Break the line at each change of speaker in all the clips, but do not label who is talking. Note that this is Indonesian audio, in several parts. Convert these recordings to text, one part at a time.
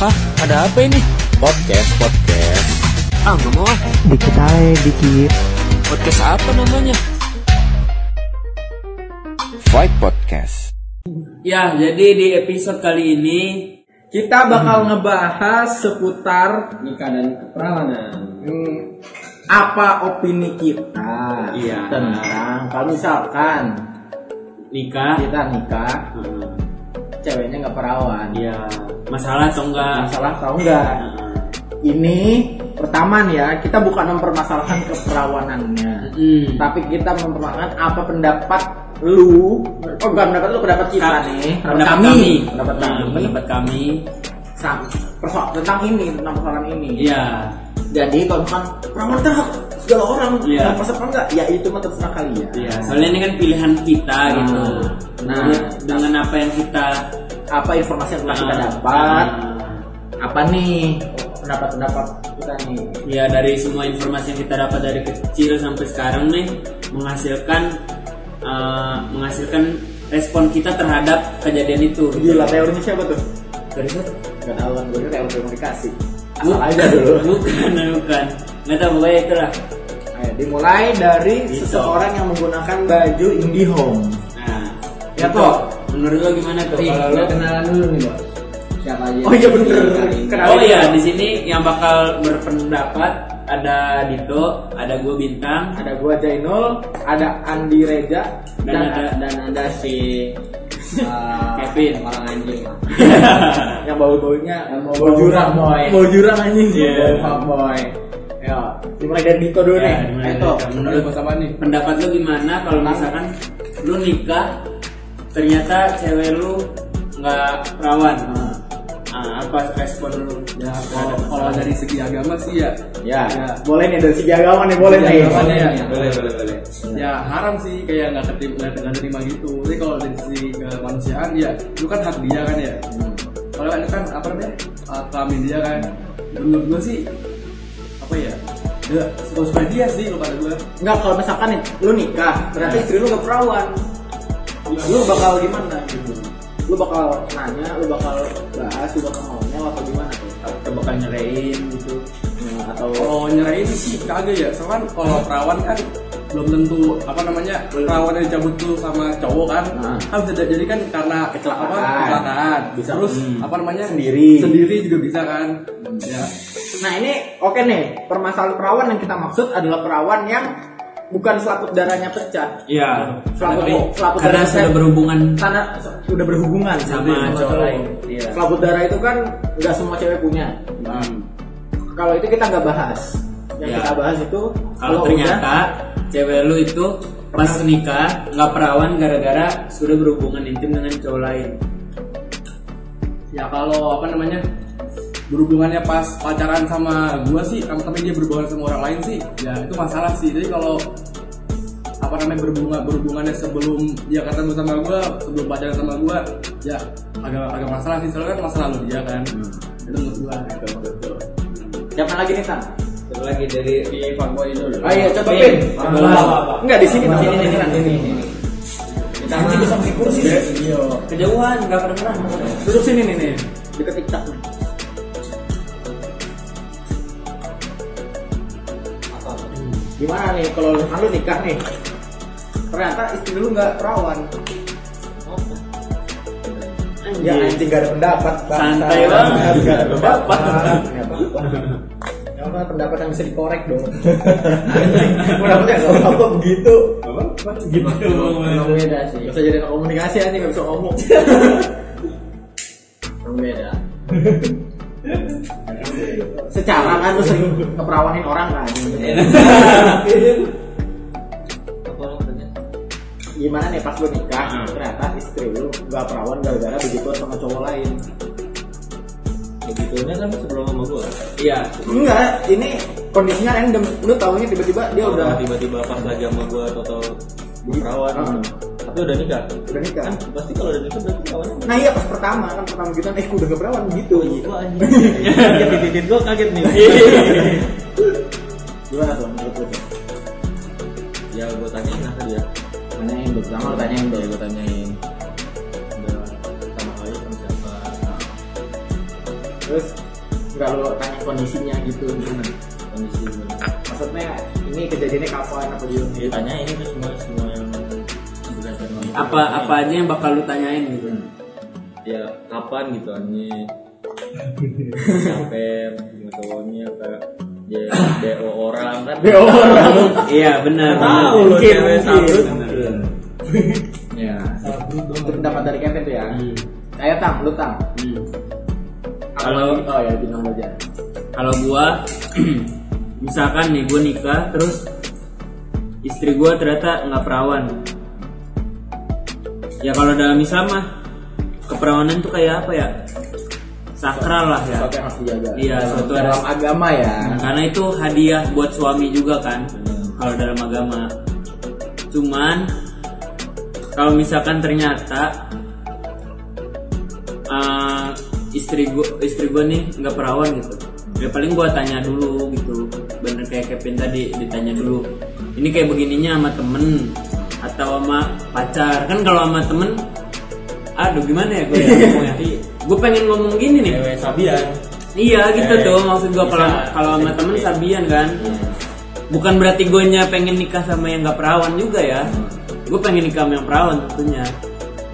Hah, ada apa ini?
Podcast, podcast.
Ah, nggak mau ah.
Dikit aja, dikit.
Podcast apa namanya?
Fight Podcast.
Ya, jadi di episode kali ini
Kita bakal ngebahas seputar nikah dan perlawanan. Apa opini kita
Iya.
tentang kalau misalkan
nikah.
kita nikah,
Hmm,
ceweknya nggak perawan.
Iya, masalah atau enggak?
Masalah tau nggak? Ini pertama nih ya, kita bukan mempermasalahkan keperawanannya.
Hmm.
Tapi kita mempermasalahkan apa pendapat lu Oh bukan pendapat lu, pendapat kita nih
pendapat kami,
Pendapat
Nah,
kami
pendapat kami.
Sam- perso- Tentang ini, tentang persoalan ini
Iya.
Jadi kalau misalkan rawan tuh hak segala orang,
Iya.
yeah. apa enggak? Ya itu mah terserah kalian.
Iya, soalnya ini kan pilihan kita gitu.
Nah.
Jadi, dengan apa yang kita
Apa informasi yang telah kita
Ah,
dapat?
ah.
Nah. Apa nih pendapat-pendapat kita nih?
Ya dari semua informasi yang kita dapat dari kecil sampai sekarang nih menghasilkan eh, menghasilkan respon kita terhadap kejadian itu.
Oh, Gila teorinya siapa tuh?
Dari situ?
Gak tahu kan gue teori komunikasi. Asal
Bukan,
aja dulu.
bukan, bukan. Nggak tahu pokoknya itulah.
Ayo, dimulai dari
Gitu.
seseorang yang menggunakan baju IndiHome.
Nah,
Ya,
itu.
Tok.
Menurut lo gimana tuh? Kalau lo-
kenalan dulu nih, Bos. Siapa aja? Oh iya bener. Kenalin.
Oh iya, di sini yang bakal berpendapat ada Dito, ada gue Bintang,
ada gua Jainul, ada Andi Reja
Dan ada-
dan ada si uh,
Kevin.
orang anjing yang bau baunya mau bau
jurang, boy.
mau jurang anjing
Iya.
bau boy ya dimulai dari Dito dulu
Ya,
nih
dimulai
Ayo,
dari
Tok.
Dito. Menurut
Bos apa nih
pendapat lu gimana kalau misalkan lu nikah ternyata cewek lu nggak perawan Ah, apa respon lu
Nah. Ya, kalau,
terhadap masalah
kalau dari segi agama sih ya,
ya,
Ya.
boleh nih dari segi agama nih boleh nih
Segi agamanya ya.
Boleh, boleh, boleh.
ya haram sih kayak nggak terima, nggak nggak terima gitu. Tapi kalau dari segi kemanusiaan ya, itu kan hak dia kan ya. Kalau itu kan apa namanya, uh, kelamin dia kan. Menurut gue sih apa ya, ya suka dia sih kalau kata gue.
Enggak kalau misalkan nih, lu nikah ternyata istri lu gak perawan lu bakal gimana gitu lu bakal nanya lu bakal bahas lu bakal ngomel atau gimana
atau bakal nyerahin gitu
Nah, atau
Kalau nyerahin sih kagak ya, soalnya kan kalau perawan kan belum tentu apa namanya perawan yang cabut tuh sama cowok kan
Nah.
kan bisa jadi- jadi kan karena
Kecelakaan.
apa, kecelakaan
Bisa.
terus
Hmm.
apa namanya
Sendiri.
sendiri juga bisa kan ya
Nah ini oke nih permasalahan perawan yang kita maksud adalah perawan yang bukan selaput darahnya pecah,
iya
Selaput-
tapi
selaput
karena
dari-
sudah berhubungan
karena udah berhubungan
Sama cowok lain, iya.
Selaput darah itu kan nggak semua cewek punya. Hmm. Kalau itu kita nggak bahas. Yang
Ya.
kita bahas itu
kalau ternyata cewek lu itu pas nikah nggak perawan gara-gara sudah berhubungan intim dengan cowok lain
ya kalau apa namanya berhubungannya pas pacaran sama gua sih tapi tapi dia berhubungan sama orang lain sih ya itu masalah sih jadi kalau apa namanya berhubungan berhubungannya sebelum dia ketemu sama gua sebelum pacaran sama gua ya agak agak masalah sih soalnya kan masa lalu dia kan itu menurut gua
siapa lagi nih Tan?
Satu lagi dari di fanboy
Ah,
dulu.
Oh iya, coba Pin. Enggak di sini, di sini, sini. Kita bisa di kursi.
kejauhan nggak pernah
Duduk sini nih nih. Deket tiktok nih. Gimana nih kalau lu, kan lu nikah nih? Ternyata istri lu nggak perawan. Ya anjing gak ada pendapat bangsa.
Santai banget.
Gak ada pendapat
Gak ada
Gak ada pendapat. Yang mana pendapat yang bisa dikorek dong Anjing, Pendapatnya gak apa-apa begitu
gitu
Emang beda sih Bisa jadi anak komunikasi aja gak bisa ngomong Emang beda Secara kan lu sering ngeperawanin orang kan Gimana nih pas lu nikah Ternyata istri lu gak perawan gara-gara begitu sama cowok lain
Begitunya kan sebelum sama gue.
iya
Enggak, ini kondisinya random Lu taunya tiba-tiba dia udah
Udah tiba-tiba pas lagi sama gue atau tau perawan.
Heeh.
Tapi udah nikah.
udah nikah
Kan pasti kalau udah nikah berarti kawannya.
Nah iya pas pertama kan pertama kita eh udah gak perawan gitu
Gue anjing. Titit gue kaget nih.
Gimana tuh menurut lu?
ya gue tanyain lah tadi ya.
Tanyain dulu, sama lu tanyain
Udah gue tanyain. Udah pertama kali sama siapa?
terus nggak lo tanya kondisinya gitu gimana
kondisi gimana?
maksudnya ini kejadiannya kapan apa gimana
Jadi tanya ini tuh semua semua yang berdasarkan sama-
apa apa aja yang bakal lu tanyain gitu
ya kapan gitu anjing capek cowoknya apa dia do Ya, orang kan do orang
iya benar
tahu
benar.
lo
Mungkin,
cewek
mungkin.
sabut
ya
itu pendapat dari Kevin tuh ya
Hmm,
kayak tang lu tang
hmm.
Apa
Kalau-
lagi? oh ya bilang aja
kalau gua misalkan nih gua nikah terus istri gua ternyata nggak perawan ya kalau dalam Islam mah keperawanan tuh kayak apa ya sakral lah ya
sesuatu yang harus dijaga
Iya, sesuatu yang-
dalam agama ya
karena itu hadiah buat suami juga kan
Hmm.
kalau dalam agama cuman kalau misalkan ternyata eh, istri gua istri gua nih nggak perawan gitu ya paling gua tanya dulu gitu bener kayak Kevin tadi ditanya dulu ini kayak begininya sama temen atau sama pacar kan kalau sama temen aduh gimana ya gue ya ngomongnya gue pengen ngomong gini nih
cewek sabian
Iya gitu
Eh,
tuh maksud gua kalau
bisa. gitu.
kalau sama temen sabian kan.
Hmm.
Bukan berarti gonya pengen nikah sama yang gak perawan juga ya. Gue pengen nikah sama yang perawan tentunya.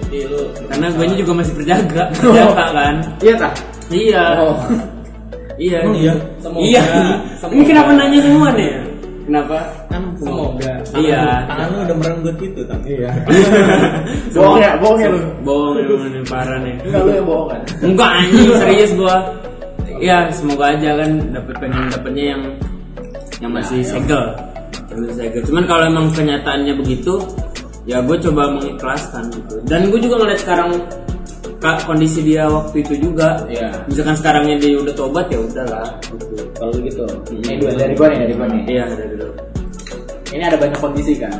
jadi lu
Karena guanya juga masih berjaga, berjaga kan.
iya tang
Iya.
oh
Iya.
Emang iya?
Semoga-
Iya. Ini
semoga.
kenapa nanya semua nih? Kenapa?
kan
semoga
tangan
Iya.
lu- tangan lu udah merenggut gitu kan iya
bohong ya bohong ya lu
Bohong emang nih parah nih.
enggak lu yang bohong kan
Enggak anjing serius gua. Ya semoga aja kan dapet pengen dapetnya yang yang masih segel. Yang masih segel. Cuman kalau emang kenyataannya begitu, ya gue coba mengikhlaskan gitu. Dan gue juga ngeliat sekarang ka- kondisi dia waktu itu juga.
Iya.
Misalkan sekarangnya dia udah tobat ya udahlah gitu.
kalau lu gitu ini dua dari gua nih dari gua nih
Iya dari dulu.
ini ada banyak kondisi kan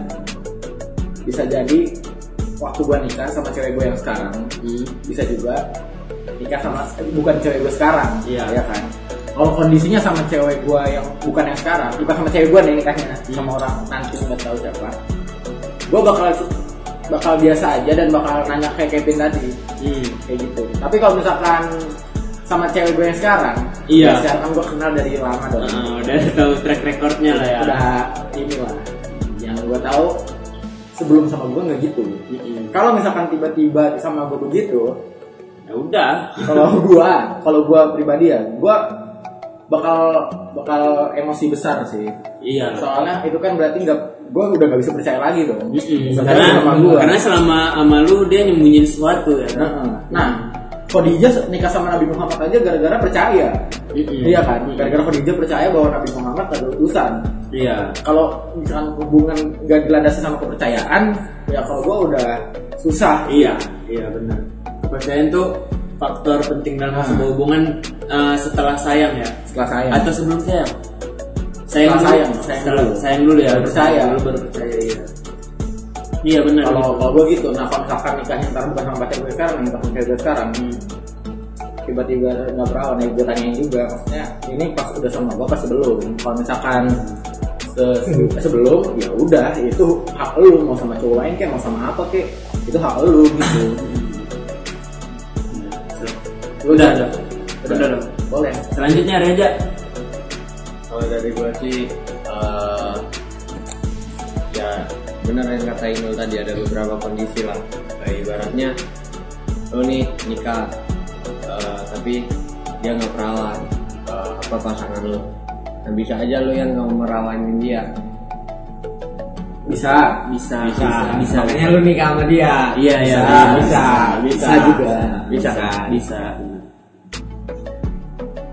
bisa jadi waktu gua nikah sama cewek gua yang sekarang bisa juga nikah sama bukan cewek gua sekarang
Iya.
ya kan kalau kondisinya sama cewek gua yang bukan yang sekarang bukan sama cewek gua nih nikahnya
Hmm.
sama orang nanti nggak tahu siapa gua bakal bakal biasa aja dan bakal nanya kayak Kevin tadi
Hmm.
kayak gitu tapi kalau misalkan sama cewek gue yang sekarang
Iya.
ya sekarang gue kenal dari lama dong
Nah, udah tahu track recordnya lah ya.
udah ini lah yang gue tahu sebelum sama gue nggak gitu
Mm-mm.
kalau misalkan tiba-tiba sama gue begitu
Ya udah.
kalau gue kalau gue pribadi ya gue bakal bakal emosi besar sih
Iya.
soalnya itu kan berarti nggak gue udah nggak bisa percaya lagi dong
Mm-mm.
Misalkan
Karena
sama gua.
karena selama sama lu dia nyembunyiin sesuatu ya. kan?
Nah, nah Khadijah nikah sama Nabi Muhammad aja gara-gara percaya.
Mm-mm.
Iya kan? Gara-gara Khadijah percaya bahwa Nabi Muhammad adalah utusan.
Iya.
Kalau misalkan hubungan gak dilandasi sama kepercayaan, ya kalau gua udah susah.
Iya, iya benar. Kepercayaan tuh faktor penting dalam sebuah hubungan eh, setelah sayang ya,
Setelah saya.
atau sebelum sayang. Sayang dulu,
Setelah sayang, sayang
sayang, dulu. sayang dulu ya,
Baru percaya.
dulu baru percaya iya. Iya benar.
Kalau
gitu.
kalau gua gitu, nah kalau misalkan nikahnya ntar bukan sama pacar gue sekarang, nikah sama cewek gue sekarang, tiba-tiba nggak perawan ya gue tanyain juga maksudnya ini pas udah sama gue pas sebelum kalau misalkan se- se- sebelum ya udah itu hak lu mau sama cowok lain kayak mau sama apa kek itu hak lu gitu Lu
Udah, udah.
udah
Udah, udah.
boleh
Selanjutnya Reja.
kalau dari gua sih eh, ya benar yang kata Inul tadi ada beberapa kondisi lah Kayak ibaratnya lo nih nikah eh, tapi dia nggak perawan eh, apa pasangan lo nah, bisa aja lo yang nggak merawanin dia
bisa
Bisa,
Bisa.
bisa.
makanya lu nikah sama dia
Iya, iya,
bisa
bisa.
bisa
Bisa juga.
bisa
Bisa,
kan
bisa.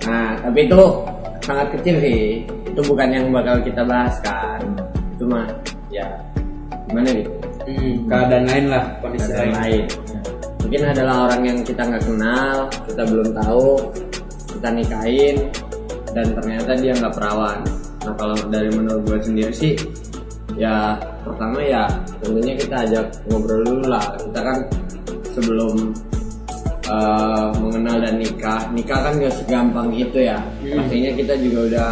Nah, tapi itu sangat kecil sih. Itu bukan yang bakal kita bahas kan. Itu mah ya gimana gitu.
keadaan lain lah kondisi
Ada
lain
yang lain. Mungkin adalah orang yang kita nggak kenal, kita belum tahu, kita nikahin dan ternyata dia nggak perawan. Nah, kalau dari menurut gue sendiri sih ya pertama ya tentunya kita ajak ngobrol dulu lah. Kita kan sebelum eh, mengenal dan nikah nikah kan gak segampang itu ya pastinya kita juga udah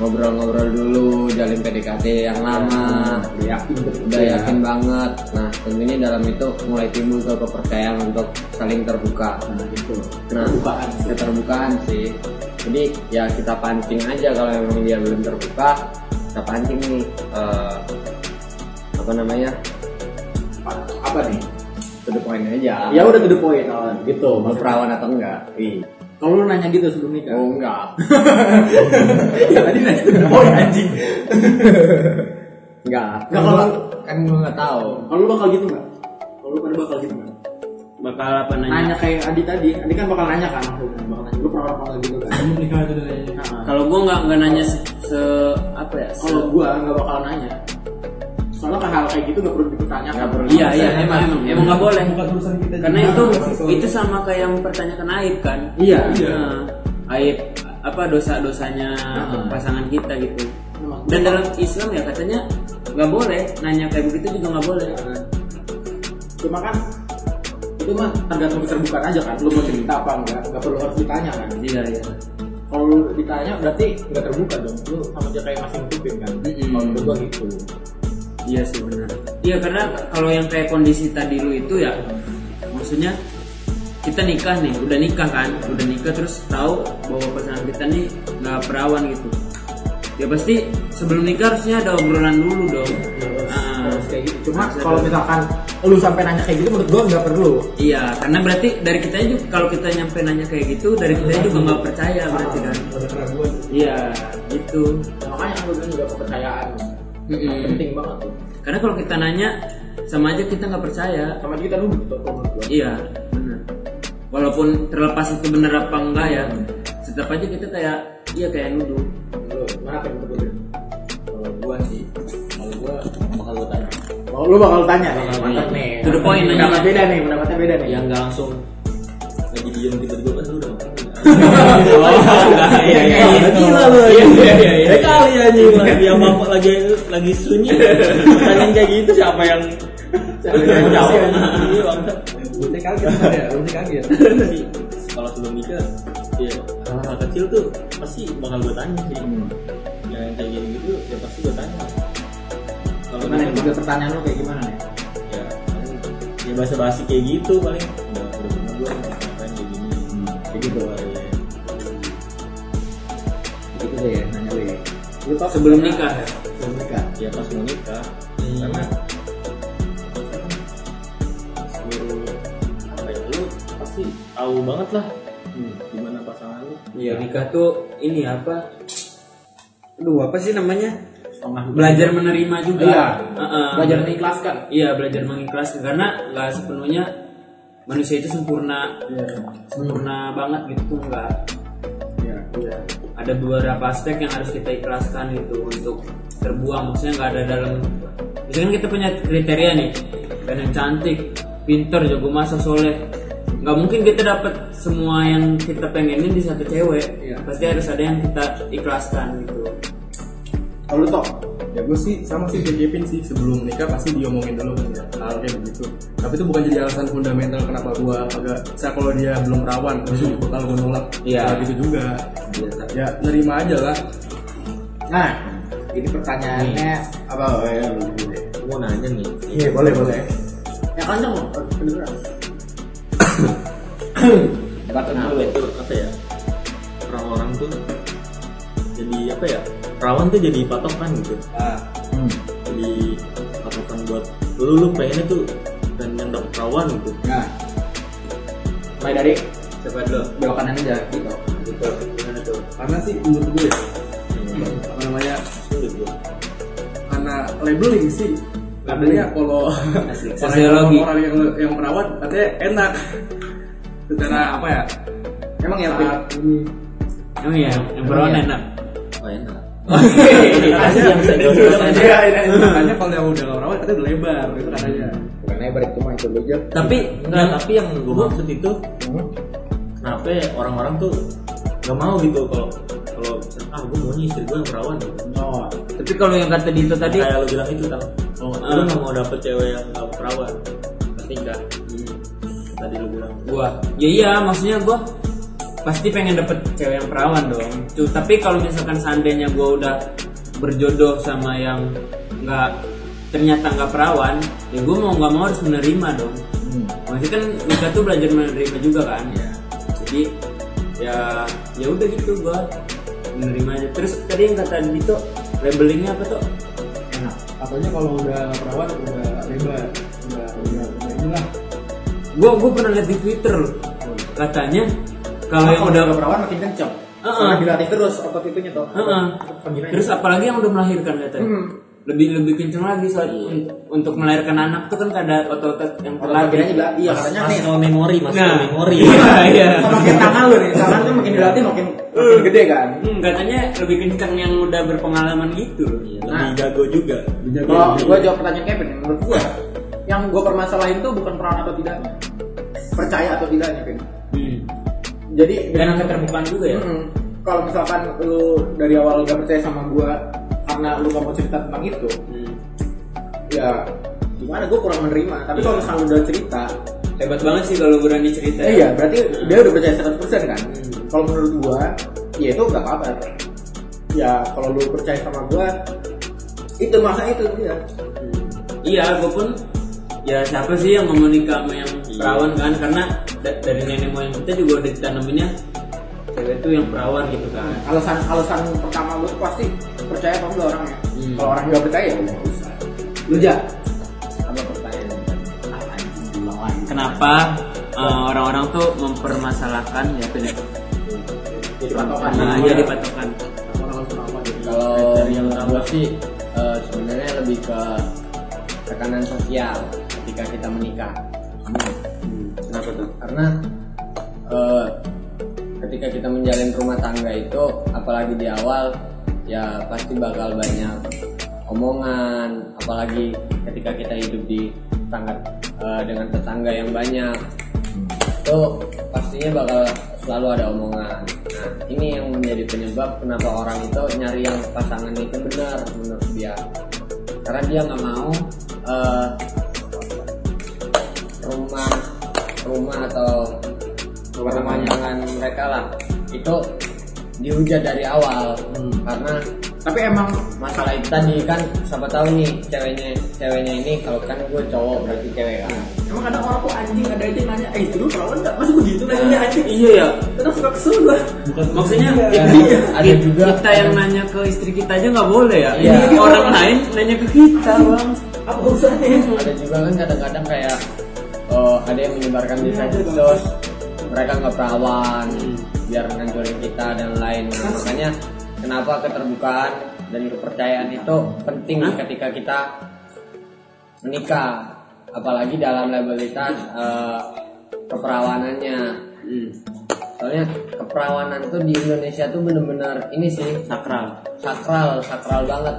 ngobrol-ngobrol dulu jalin PDKT yang lama
Udah
Ya,
yakin betul
udah yakin banget nah tentunya dalam itu mulai timbul tuh kepercayaan untuk saling terbuka
Nah, gitu.
nah
Keterbukaan.
keterbukaan sih jadi ya kita pancing aja kalau memang dia belum terbuka kita pancing nih eh, apa namanya
Apa- Apa nih?
to the point aja
Ya udah to the point, Alan. Gitu.
mau
Mas.
perawan atau enggak Ih.
Kalau lu nanya gitu sebelum nikah.
oh enggak
Iya, tadi nanya to the point anjing.
enggak
Enggak, kalau-
kan gua nggak tahu
Kalau lu bakal gitu nggak? Kalau lu pada bakal gitu nggak?
bakal apa nanya
Nanya kayak Adi tadi, Adi kan bakal nanya kan maksudnya, bakal nanya. Lu pernah pernah gitu kan?
nikah itu dari
ya.
Nah,
kalau gue nggak nggak nanya se, se- apa ya se-
kalau gua nggak bakal nanya. Soalnya kan hal kayak gitu nggak perlu dipertanyakan.
Nggak perlu.
iya iya emang emang emang nggak boleh
bukan urusan kita
karena
juga.
itu
Maksud-
Iya.
itu sama kayak mempertanyakan aib kan
Iya.
Iya.
Nah, aib apa dosa dosanya
Nah.
pasangan kita gitu
Nah,
dan dalam Islam ya katanya nggak boleh nanya kayak begitu juga nggak boleh
Cuma kan itu mah tergantung keterbukaan aja kan. Lu mau cerita apa enggak? Nggak perlu harus ditanya kan.
iya iya
Kalau lu ditanya berarti nggak terbuka dong. Lu sama aja kayak masih nutupin kan.
Mm-mm.
Kalau menurut gua gitu.
Iya sih benar. Iya karena kalau yang kayak kondisi tadi lu itu ya, maksudnya kita nikah nih, udah nikah kan, udah nikah terus tahu bahwa pasangan kita nih nggak perawan gitu. Ya pasti sebelum nikah harusnya ada obrolan dulu dong. Ah,
Terus kayak gitu. Cuma
Harus ada-
kalau misalkan lu sampai nanya kayak gitu menurut gua nggak perlu.
Iya, karena berarti dari kita juga kalau kita nyampe nanya kayak gitu, dari kita juga nggak percaya berarti kan. Iya, gitu.
Nah, makanya aku bilang juga kepercayaan
Mm-mm.
penting banget tuh
Karena kalau kita nanya sama aja kita nggak percaya.
sama aja kita dulu gitu kalau menurut gua.
Iya, benar. Walaupun terlepas itu benar apa enggak ya, tetap aja kita kayak iya kayak nuduh.
Lu, mana apa yang menurut lu?
kalau gua sih kalau gua bakal gua tanya
Kalau Oh, lu bakal tanya nih mantap nih
To the point, Ya, nanya.
pendapat beda nih pendapatnya beda nih
yang nggak langsung lagi diem tiba-tiba kan lu udah makan
iya, iya.
gila lu iya iya iya kali anjing lagi yang bapak lagi lagi sunyi tanya kayak gitu siapa yang
Siapa yang-
Iya, bangsat.
Ini kaget ya, ini kaget.
Tapi kalau sebelum nikah ya hal kecil tuh pasti bakal gue tanya sih Ya, yang kayak gini gitu ya pasti gue tanya kalau
gimana
memang-
juga pertanyaan lu kayak gimana nih
ya paling ya bahasa basi kayak gitu paling udah udah pernah gue ngapain kayak gini kayak gitu ya.
gitu deh nanya lu ya lu tau
Sebelum nikah.
sebelum nikah
ya pas mau nikah karena seluruh apa ya lu pasti tahu banget lah hmm, gimana pasangan lu
Iya. Nikah tuh ini apa? Aduh, apa sih namanya?
setengah
Belajar menerima juga.
Iya.
Heeh.
belajar kan? mengikhlaskan
Iya, belajar mengikhlaskan karena nggak sepenuhnya manusia itu sempurna sempurna banget gitu tuh enggak.
iya iya
Ada beberapa aspek yang harus kita ikhlaskan gitu untuk terbuang maksudnya nggak ada dalam misalkan kita punya kriteria nih pengen cantik pinter jago masak soleh nggak mungkin kita dapat semua yang kita pengenin di satu cewek
Iya.
pasti harus ada yang kita ikhlaskan gitu
kalau lu tau
Ya gue sih sama sih kayak Kevin sih sebelum menikah pasti diomongin dulu kan ya, hal kayak begitu. Tapi itu bukan jadi alasan fundamental kenapa gue agak saya kalau dia belum rawan terus bakal gue nolak.
Iya.
Nah, gitu juga.
Iya,
Ya nerima aja lah.
nah ini pertanyaannya apa oh, ya
mau nanya nih
iya boleh boleh ya kenceng loh kedengeran
kenapa itu apa ya orang-orang tuh jadi apa ya rawan tuh jadi patokan gitu
Hmm.
jadi patokan buat lu lu pengennya tuh dan yang dapet rawan gitu
nah mulai dari
coba dulu
belok kanan aja gitu
Karena sih menurut gue ya, apa namanya
sulit gua
karena labeling sih labelnya kalau
Sosiologi.
orang yang yang merawat katanya enak secara apa ya
emang ya
saat ini
emang ya yang perawan
Iya.
enak
oh, enak
Iya, iya, iya. katanya kalau yang udah nggak merawat katanya udah lebar itu katanya
bukan lebar itu mah itu aja
tapi Hmm?
Enggak, tapi yang gue maksud itu kenapa ya orang-orang tuh nggak mau gitu kalau kalau ah gue mau nih istri gue yang perawan gitu.
oh
tapi kalau yang kata Dito tadi
kayak lo bilang itu tang oh,
Ah.
lu nggak mau dapet cewek yang nggak perawan
Hmm.
pasti enggak tadi lo bilang
gua ya iya maksudnya gua pasti pengen dapet cewek yang perawan dong Cu- tapi kalau misalkan seandainya gue udah berjodoh sama yang nggak ternyata nggak perawan ya gue mau nggak mau harus menerima dong maksudnya kan kita tuh belajar menerima juga kan
Iya.
jadi ya ya udah gitu gue menerima aja terus tadi yang kata Dito labelingnya apa tuh
Nah, katanya kalau udah nggak perawan udah lebar udah udah udah inilah Oh.
gue gue pernah lihat di Twitter loh katanya kalau yang
Kalau
udah
udah keperawan makin kenceng.
Heeh.
Karena dilatih terus otot itunya toh.
Heeh.
Penggilaan.
Terus apalagi yang udah melahirkan katanya. Lebih lebih kenceng lagi
Iya.
soal untuk melahirkan anak tuh kan ada otot-otot yang
Otot penggilaannya
terlatih.
dilatih. Iya katanya nih.
Masuk memori, masuk
Nah.
memori.
Iya, iya.
Makin tangan lu nih, tangan kan makin dilatih makin makin gede kan.
Hmm, katanya lebih kenceng yang udah berpengalaman gitu loh.
Iya.
Nah,
jago juga.
kalau gua jawab pertanyaan Kevin, menurut gua yang gua permasalahin tuh bukan perawan atau tidaknya. Percaya atau tidaknya, Kevin.
Hmm.
Jadi
Dan keterbukaan juga
Hmm.
ya.
Mm-mm. hmm, kalau misalkan lu dari awal gak percaya sama gua karena lu gak mau cerita tentang itu,
Hmm.
ya gimana gua kurang menerima. Tapi kalau misalkan lu udah cerita,
Hebat banget sih kalau berani cerita. ya. Hmm.
Eh, iya, berarti dia udah percaya 100% kan? Kalau menurut gua, ya itu nggak apa-apa. Ya kalau lu percaya sama gua, itu masa itu ya.
Iya, gue pun ya siapa sih yang mau nikah sama yang
Iya.
perawan kan? Karena da- dari nenek moyang kita juga udah ditanaminnya cewek tuh yang perawan gitu kan.
Alasan alasan pertama lu tuh pasti percaya apa enggak orangnya. Kalau orang nggak percaya, ya nggak usah. Lu ja,
Apa pertanyaan? Ah, anjing, lawan.
Kenapa eh, orang-orang tuh mempermasalahkan ya
Iya.
pilih
jadi patokan.
Nah,
Iya.
Gua-
jadi patokan.
Kalau menurut gua sih eh, sebenarnya lebih ke tekanan sosial ketika kita menikah. Kenapa tuh? Karena eh, ketika kita menjalin rumah tangga itu, apalagi di awal, ya pasti bakal banyak omongan, apalagi ketika kita hidup di tangga eh, dengan tetangga yang banyak itu pastinya bakal selalu ada omongan. Nah, ini yang menjadi penyebab kenapa orang itu nyari yang pasangan itu benar menurut dia. Karena dia nggak mau eh, rumah rumah atau pemandangan mereka lah itu dihujat dari awal karena
Tapi emang
masalah itu tadi kan siapa tahu nih ceweknya ceweknya ini kalau kan gue cowok berarti cewek kan
emang kadang orang tuh anjing ada aja yang nanya, eh itu lu perawan nggak? Masih begitu nanya anjing.
Iya ya.
Terus suka kesel gua.
Maksudnya
Ya,
kita-
ada juga
kita yang nanya ke istri kita aja nggak boleh ya.
Iya.
Ini orang lain nanya ke kita bang.
Apa urusannya?
ada juga kan kadang-kadang kayak eh, ada yang menyebarkan desas-desus mereka nggak perawan biar ngancurin kita dan lain Nah, makanya kenapa keterbukaan dan kepercayaan itu penting ketika kita menikah apalagi dalam legalitas eh, keperawanannya soalnya keperawanan tuh di Indonesia tuh bener-bener ini sih
Sakral.
sakral sakral banget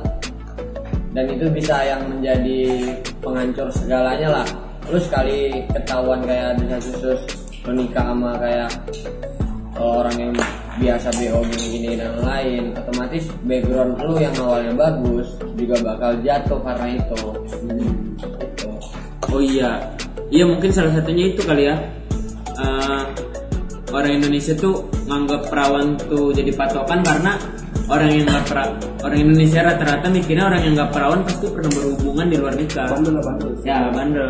dan itu bisa yang menjadi penghancur segalanya lah lu sekali ketahuan kayak bisa susus menikah sama kayak eh, orang yang biasa BO gini gini dan lain otomatis background lu yang awalnya bagus juga bakal jatuh karena itu Gitu.
Oh iya. Iya mungkin salah satunya itu kali ya. Eh, orang Indonesia tuh nganggap perawan tuh jadi patokan karena orang yang nggak perawan orang Indonesia rata-rata mikirnya orang yang nggak perawan pasti pernah berhubungan di luar nikah.
Bandel lah bandel.
Ya bandel.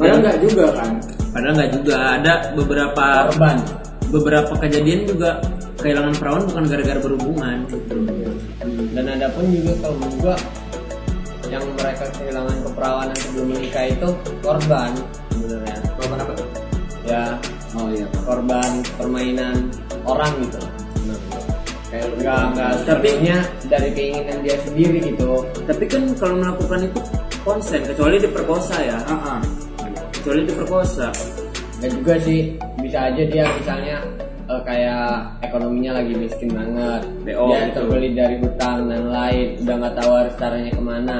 Padahal nggak juga kan.
Padahal nggak juga ada beberapa
korban
beberapa kejadian juga kehilangan perawan bukan gara-gara berhubungan
dan ada pun juga kalau menurut gua yang mereka kehilangan keperawanan sebelum menikah itu korban sebenarnya
Kalau apa tuh?
ya
oh iya
korban permainan orang gitu
Kayak lu
nggak nggak sepenuhnya dari keinginan dia sendiri gitu
tapi kan kalau melakukan itu konsen kecuali diperkosa ya
Ah, ah.
kecuali diperkosa
dan juga sih bisa aja dia misalnya eh, kayak ekonominya lagi miskin banget
BO
dia
gitu.
terbeli dari hutang dan lain udah nggak tahu harus caranya kemana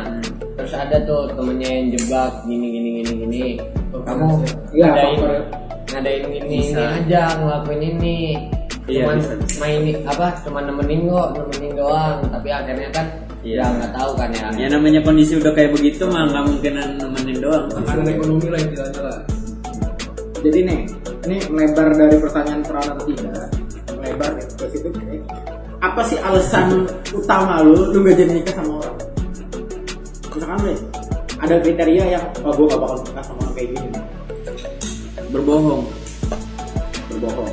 Hmm.
terus ada tuh temennya yang jebak gini gini gini gini
Oh,
kamu
Iya,
ngadain
faktor-
ngadain ini ini aja ngelakuin ini
Iya,
cuman
bisa,
main apa cuman nemenin kok nemenin doang tapi akhirnya kan
Iya.
ya nggak tahu kan ya
ya namanya kondisi udah kayak begitu mah nggak mungkinan nemenin doang
tekanan ekonomi lah istilahnya lah
Jadi nih, ini melebar dari pertanyaan perawan atau tidak. lebar deh ke situ kayak, apa sih alasan utama lu lu gak jadi nikah sama orang misalkan lu ya, ada kriteria yang oh, gue gak bakal nikah sama orang kayak gini
berbohong
berbohong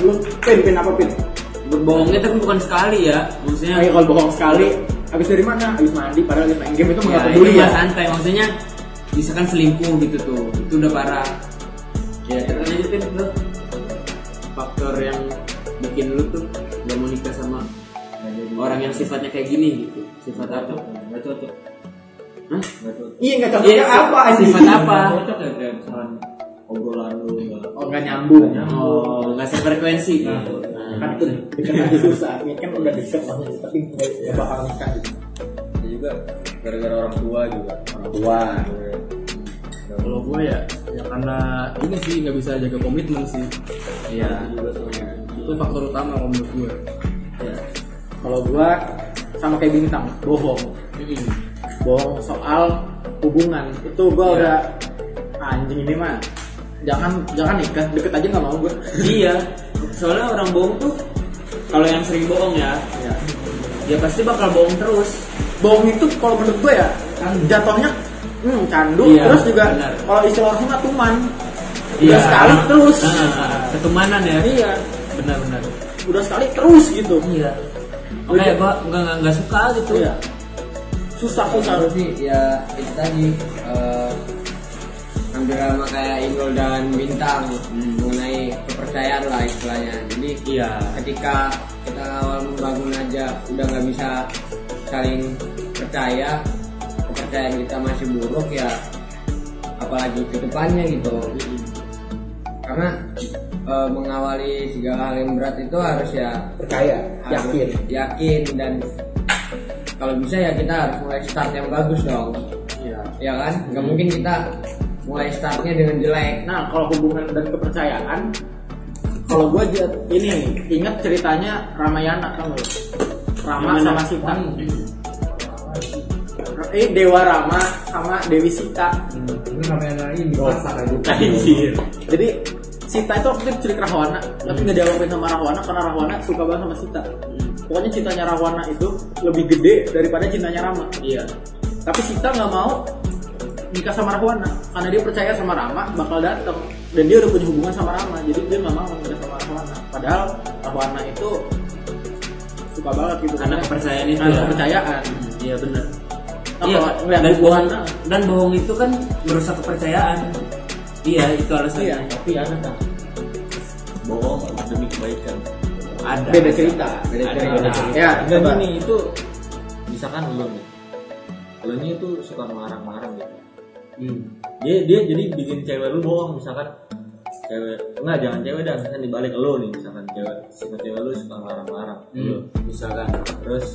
lu pin pin apa pin
berbohongnya tapi bukan sekali ya maksudnya
Kayak Nah, kalau bohong sekali abis dari mana abis mandi padahal abis main game itu
ya,
nggak
itu
peduli ya
ya santai maksudnya misalkan selingkuh gitu tuh itu udah parah ya terus lanjutin tuh faktor yang bikin lu tuh gak mau nikah sama orang yang sifatnya kayak gini gitu sifat apa
Gak cocok.
Hah?
Gak cocok.
iya nggak cocoknya apa anjing?
sifat apa
Gak cocok ya kayak misalkan obrolan lu nggak
oh nggak nyambung
oh nggak sefrekuensi gitu
kan itu deket aja susah ini kan udah deket maksudnya tapi nggak nggak bakal nikah gitu
Itu juga gara-gara orang tua juga
orang tua
Nah,
kalau gue ya ya karena ini sih nggak bisa jaga komitmen sih
iya
itu faktor utama kalau menurut gue Iya.
kalau gua sama kayak bintang bohong
Mm-mm.
Hmm.
bohong soal hubungan itu gua
Iya.
udah anjing ini mah jangan jangan nikah deket aja nggak mau gua
iya soalnya orang bohong tuh kalau yang sering bohong ya
Iya.
dia pasti bakal bohong terus
bohong itu kalau menurut gua ya jatuhnya hmm, candu
Iya,
terus juga
benar. Iya.
kalau istilah orang mah tuman udah sekali terus
Nah, nah, nah. ketumanan ya
iya
benar-benar
udah sekali terus gitu
iya makanya gua nggak nggak- nggak suka gitu
iya susah susah
Terus sih ya itu tadi eh, hampir sama kayak Indol dan Bintang mengenai kepercayaan lah istilahnya. Jadi
iya
ketika kita awal membangun aja udah nggak bisa saling percaya kepercayaan kita masih buruk ya apalagi ke depannya gitu karena eh, mengawali segala hal yang berat itu harus ya
percaya
harus
yakin
yakin dan kalau bisa ya kita harus mulai start yang bagus dong
iya
ya kan nggak mungkin kita mulai startnya dengan jelek
Nah, kalau hubungan dan kepercayaan, kalau gue ini ingat ceritanya Ramayana kamu. Rama
Ramayana. Hmm.
sama Sita. Eh Dewa Rama sama Dewi Sita.
ini namanya ini pasar aja
anjir
Jadi Sita itu waktu itu culik Rahwana, tapi nggak dialoguin sama Rahwana karena Rahwana suka banget sama Sita.
Hmm.
Pokoknya cintanya Rahwana itu lebih gede daripada cintanya Rama.
iya
Tapi Sita nggak mau nikah sama Rahwana karena dia percaya sama Rama bakal datang dan dia udah punya hubungan sama Rama jadi dia nggak mau nikah sama Rahwana padahal Rahwana itu suka banget gitu
karena kepercayaan itu
ada
ya
kepercayaan
iya benar
Nah,
iya
kalau ngeliat
dan bohong
hubungan-
dan bohong itu kan merusak kepercayaan iya itu alasannya
iya tapi ada kan
bohong demi kebaikan
ada
beda cerita
beda
beda
cerita
ya
Dan
coba.
ini itu misalkan lo nih lo nih itu suka marah-marah gitu
Hmm.
dia dia jadi bikin cewek lu bohong misalkan cewek enggak jangan cewek dah misalkan dibalik lu nih misalkan cewek sifat cewek lu suka marah-marah
Hmm,
lu misalkan terus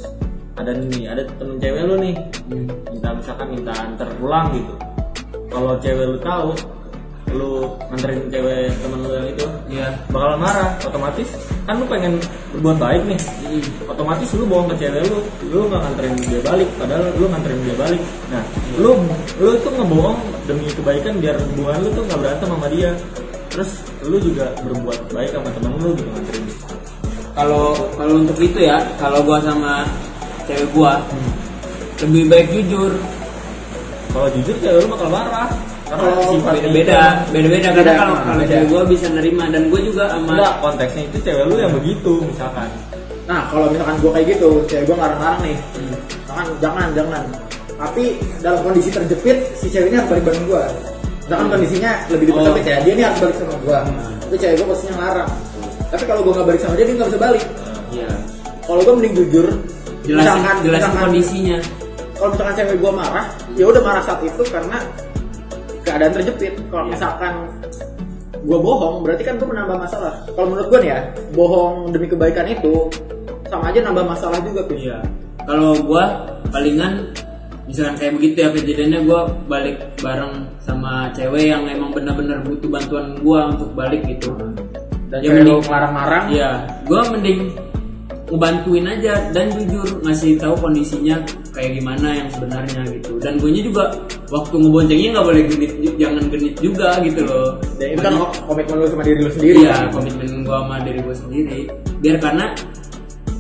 ada nih ada temen cewek lu nih
Hmm.
minta misalkan minta antar pulang gitu kalau cewek lu tahu lu nganterin cewek temen lu yang itu
iya
bakal marah otomatis kan lu pengen berbuat baik nih otomatis lu bohong ke cewek lu lu nggak nganterin dia balik padahal lu nganterin dia balik nah lu lu tuh ngebohong demi kebaikan biar hubungan lu tuh nggak berantem sama dia terus lu juga berbuat baik sama temen lu gitu nganterin
kalau kalau untuk itu ya kalau gua sama cewek gua lebih baik jujur
kalau jujur cewek lu bakal marah karena sifat
beda beda beda beda karena
Beda,
kalau kalau
beda.
cewek gua bisa nerima dan gua juga sama
enggak konteksnya itu cewek lu yang begitu misalkan
nah kalau misalkan gue kayak gitu cewek gue ngarang-ngarang nih jangan jangan jangan tapi dalam kondisi terjepit si cewek ini harus balik bareng gue misalkan
Hmm.
kondisinya lebih dipercepit
Oh,
ya dia ini harus balik sama gue itu cewek gue posisinya ngarang tapi kalau gue nggak balik sama dia dia nggak bisa balik
iya
kalau gue mending jujur
jelasin
misalkan,
jelasin
misalkan-
kondisinya
kalau misalkan cewek gue marah ya udah marah saat itu karena keadaan terjepit kalau misalkan gue bohong berarti kan gue menambah masalah kalau menurut gue nih ya bohong demi kebaikan itu sama aja nambah masalah juga tuh
Iya. Kalau gua palingan misalkan kayak begitu ya kejadiannya gua balik bareng sama cewek yang emang benar-benar butuh bantuan gua untuk balik gitu.
dan
Ya,
cewek lu
mending-
marah-marah
Iya, gua mending ngebantuin aja dan jujur ngasih tahu kondisinya kayak gimana yang sebenarnya gitu. Dan guanya juga waktu ngeboncengnya nggak boleh genit jangan genit juga gitu loh
Ya, itu kan
Banyak-
komitmen lu sama diri lu sendiri.
iya komitmen gua sama diri gua sendiri biar karena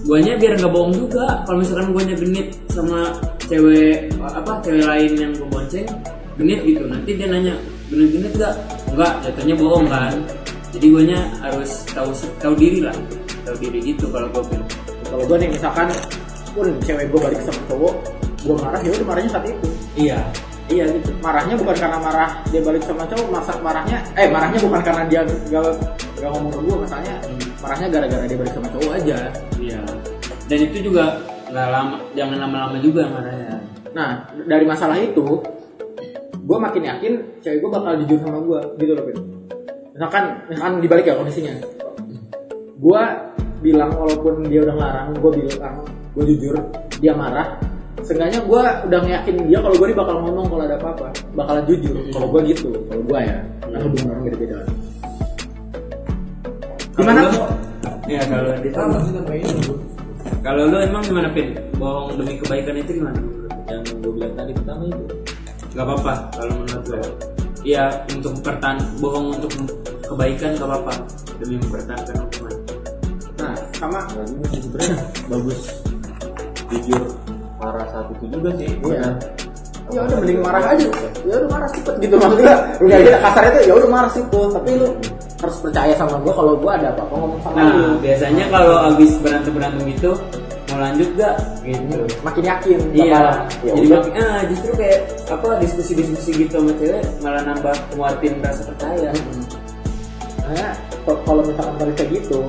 guanya biar nggak bohong juga kalau misalkan guanya genit sama cewek apa cewek lain yang gua bonceng genit gitu nanti dia nanya genit genit gak enggak jatuhnya bohong kan jadi guanya harus tahu tahu diri lah tahu diri gitu kalau gua bilang
Kalau gua nih misalkan pun cewek gua balik sama cowok, gua marah ya udah marahnya saat itu.
iya
Iya gitu. Marahnya bukan karena marah dia balik sama cowok, masak marahnya eh marahnya bukan karena dia gak, gak ngomong ke gua masalahnya marahnya gara-gara dia balik sama cowok aja.
iya dan itu juga nggak lama jangan lama-lama juga marahnya
Nah, dari masalah itu gua makin yakin cewek gua bakal jujur sama gua gitu loh, Bin. Misalkan misalkan dibalik ya kondisinya. Gua bilang walaupun dia udah ngelarang, gua bilang gua jujur, dia marah. Seenggaknya gua udah ngeyakin dia kalau gua nih bakal ngomong kalau ada apa-apa, bakalan jujur. Kalau gua gitu, kalau gua ya. Karena hubungan orang beda-beda. Gimana?
Iya kalau di Kalau lu emang gimana pin? Bohong demi kebaikan itu gimana?
yang gue bilang tadi pertama itu
Gak apa-apa kalau menurut gue. Iya untuk pertan bohong untuk kebaikan gak apa-apa demi mempertahankan hubungan.
Nah, sama
Nah, ini sebenarnya bagus jujur marah saat itu juga sih
Iya. ya udah mending
Iya.
marah aja ya udah marah siput gitu maksudnya udah kita kasarnya tuh ya udah marah siput tapi lu harus percaya sama gua kalau gua ada apa-apa ngomong sama
Hmm. Nah
lu
biasanya kalau abis berantem berantem itu mau lanjut gak? Gitu.
makin yakin
Iya,
bakal, ya
jadi
udah
makin, ah, justru kayak apa diskusi-diskusi gitu sama cewek malah nambah nguatin rasa percaya.
Karena kok- kalau misalkan tadi kayak gitu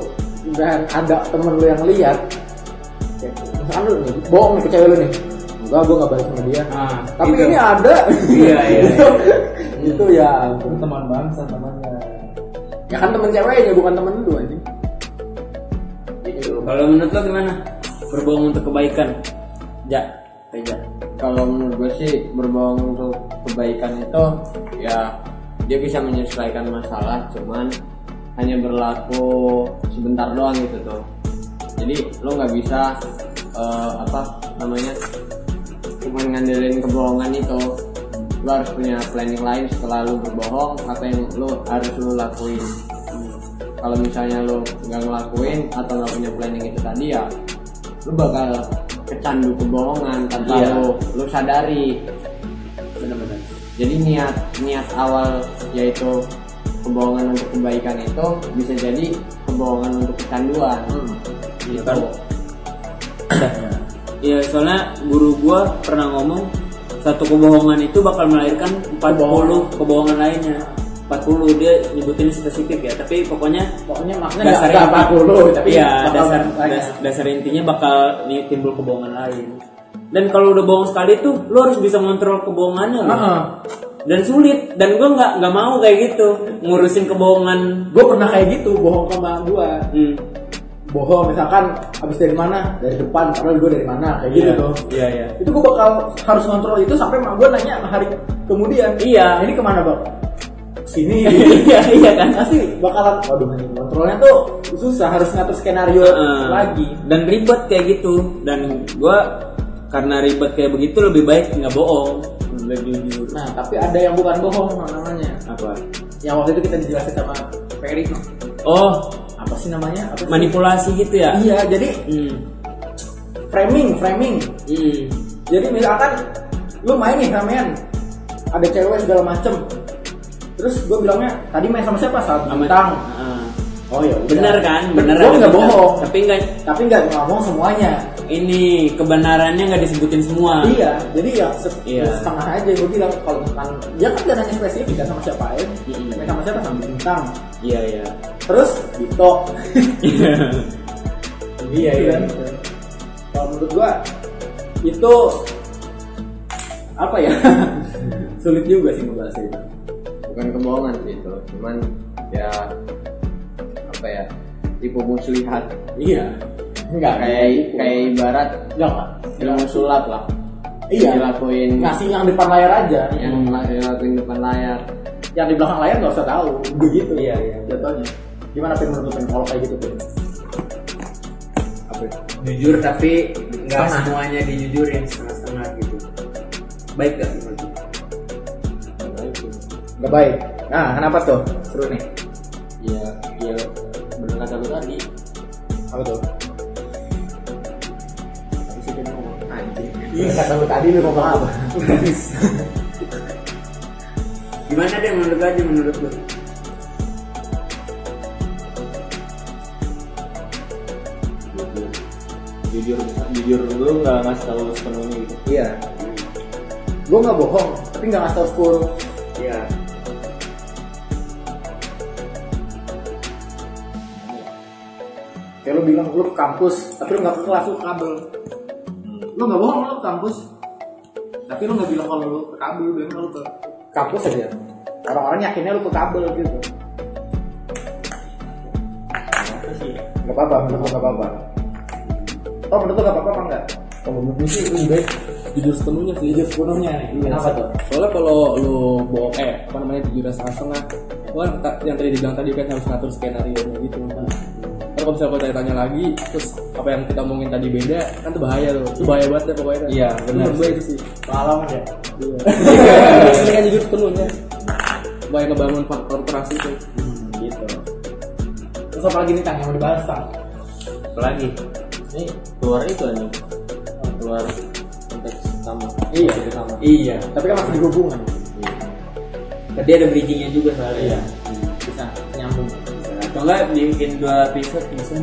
dan ada temen lu yang lihat ya, misalkan lu nih bohong nih ke cewek lu nih enggak gua nggak balik sama dia
Ah,
tapi
gitu.
ini ya. ada
Iya, iya, iya.
itu ya ampun.
teman bangsa temannya
ya kan temen ceweknya bukan temen lu anjing
Kalau menurut lo gimana? Berbohong untuk kebaikan. Ja, Reja.
kalau menurut gue sih berbohong untuk kebaikan itu ya dia bisa menyesuaikan masalah cuman hanya berlaku sebentar doang gitu tuh jadi lo nggak bisa eh, apa namanya cuman ngandelin kebohongan itu lo harus punya planning lain setelah lo berbohong apa yang lo harus lo lakuin kalau misalnya lo nggak ngelakuin atau nggak punya planning itu tadi ya lo bakal kecandu kebohongan tanpa
Iya.
lo lo sadari
Benar-benar.
jadi niat niat awal yaitu kebohongan untuk kebaikan itu bisa jadi kebohongan untuk kecanduan
Gitu. Iya, soalnya guru gua pernah ngomong satu kebohongan itu bakal melahirkan 40 kebohongan lainnya. 40 dia nyebutin spesifik ya, tapi pokoknya
pokoknya makna
dasar
nggak apa dulu tapi
iya,
bakal
dasar
banyak.
das- dasar intinya bakal nih timbul kebohongan lain. Dan kalau udah bohong sekali tuh, lo harus bisa ngontrol kebohongannya. loh.
Heeh.
dan sulit dan gue nggak nggak mau kayak gitu ngurusin kebohongan
gue pernah kayak gitu bohong sama gue
hmm.
bohong misalkan abis dari mana dari depan padahal gue dari mana kayak gitu tuh
iya iya
itu gue bakal harus ngontrol itu sampai mak gue nanya hari kemudian
Iya.
ini kemana bang sini
iya iya kan
pasti bakalan waduh nanti kontrolnya tuh susah harus ngatur skenario
Eh,
lagi
dan ribet kayak gitu dan gue karena ribet kayak begitu lebih baik nggak bohong lebih jujur
nah tapi ada yang bukan bohong namanya
apa
yang waktu itu kita dijelasin sama Ferry
oh
apa sih namanya apa sih?
manipulasi gitu ya
iya jadi
hmm.
framing framing
Hmm.
Jadi misalkan lu main nih ramean, ada cewek segala macem. Terus gue bilangnya tadi main sama siapa saat
Sama-
bintang.
Ah.
Oh ya,
bener kan bener
Gue
ada
nggak
bener.
bohong,
tapi nggak
tapi nggak ngomong semuanya.
ini kebenarannya nggak disebutin semua
Iya, jadi ya se-
Iya.
setengah aja gue bilang kalau misalkan dia kan gak nanya spesifik kan sama siapa aja,
Mm-mm.
main sama siapa sama bintang.
iya iya
Terus Dito. iya iya. Kalau menurut gue itu apa ya? Sulit juga sih ngebahasnya itu.
bukan kebohongan sih itu cuman ya apa ya tipu muslihat
Iya. Enggak
kayak kayak ibarat
enggak Pak.
ilmu sulap lah
Iya.
dilakuin
Ngasih yang depan layar aja.
yang dilakuin depan layar
Yang di belakang layar nggak usah tahu. Begitu. Iya, iya. Jatuhnya. Gimana pin menurut lu, Pin, kalau kayak gitu pin?
jujur tapi nggak semuanya dijujurin setengah-setengah gitu baik gak menurut lu?
Enggak nggak baik nah kenapa tuh seru nih
ya ya bener kata lu tadi
apa tuh
bisa jadi ngomong anjing
kata lu tadi lu ngomong apa
Gimana deh menurut aja menurut lu?
Jujur. jujur jujur lu nggak ngasih tahu sepenuhnya gitu
iya gue nggak bohong tapi nggak ngasih tau full
Iya.
kayak lu bilang lu ke kampus tapi lu nggak ke kelas lu ke kabel
Hmm.
lu nggak bohong lu ke kampus tapi lu nggak bilang kalau lu ke kampus lu bilang lu ke
kampus aja orang-orang yakinnya lu ke kabel gitu nggak apa-apa menurut lu nggak apa-apa oh menurut lu nggak apa-apa apa enggak
Kalau menurut sih lebih baik jujur sepenuhnya sih.
jujur sepenuhnya nih kenapa tuh
Soalnya kalau lu bohong eh apa namanya jujur setengah-setengah, lu kan ta- yang tadi dibilang tadi kan harus ngatur skenario nya gitu. Karena kalau misalnya tanya tanya lagi, terus apa yang kita omongin tadi beda, kan itu bahaya tuh. Itu bahaya banget deh pokoknya.
Iya, benar.
Menurut gue itu sih.
malam aja
Iya. Ini kan jujur sepenuhnya. Bahaya ngebangun fak- korporasi itu.
terus apa lagi nih tang yang mau dibahas tang
apalagi ini keluar itu anjing keluar konteks sama
Iya.
sama
Iya.
tapi kan masih di hubungan
Tadi ada bridgingnya juga soalnya.
Iya.
Iya.
bisa nyambung
Atau enggak dibikin dua episode bisa?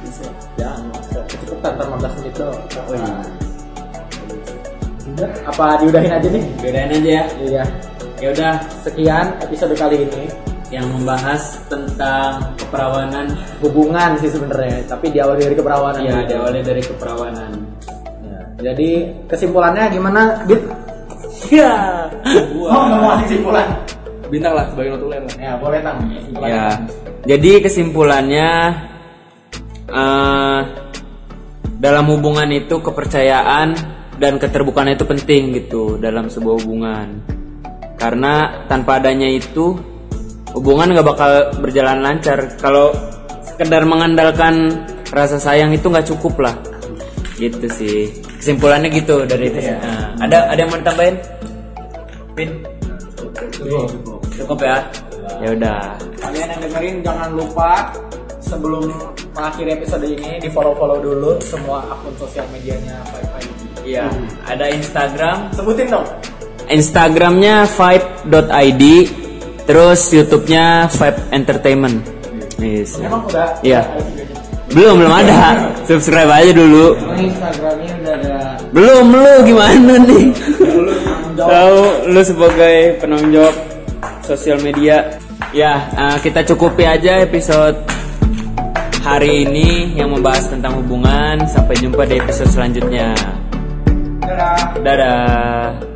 bisa.
jangan kecepatan ntar 15 menit doang
Oh, iya.
Udah, apa diudahin aja nih
Bedain aja ya.
iya
Ya udah
sekian episode kali ini
yang membahas tentang keperawanan
hubungan sih sebenarnya tapi Iya, diawali dari gitu. keperawanan
ya
Iya.
dulu.
diawali dari keperawanan
Nah, jadi kesimpulannya gimana Dit?
ya
Gua.
Oh, nggak mau ngasih kesimpulan.
Iya. Bintang lah, sebagai notulen lah.
Ya, boleh tang. Kesimpulannya.
Ya, jadi kesimpulannya eh, dalam hubungan itu kepercayaan dan keterbukaan itu penting gitu dalam sebuah hubungan. Karena tanpa adanya itu hubungan nggak bakal berjalan lancar. Kalau sekedar mengandalkan rasa sayang itu nggak cukup lah. Gitu sih. Kesimpulannya gitu dari itu. Nah, ada ada yang mau ditambahin? Pin? Cukup ya. Ya udah.
Kalian yang dengerin jangan lupa sebelum mengakhiri episode ini di follow-follow dulu semua akun sosial medianya Five Five.
Iya, ada Instagram.
Sebutin dong.
Instagramnya vibe.id, terus YouTube-nya Vibe Entertainment. Yes.
Emang udah
Iya. Belum belum ada. Subscribe aja dulu.
Instagramnya udah ada
Belum lu gimana nih? Tahu lu sebagai penanggung jawab sosial media. Ya, eh, kita cukupi aja episode hari ini yang membahas tentang hubungan. Sampai jumpa di episode selanjutnya. Dadah. Dadah.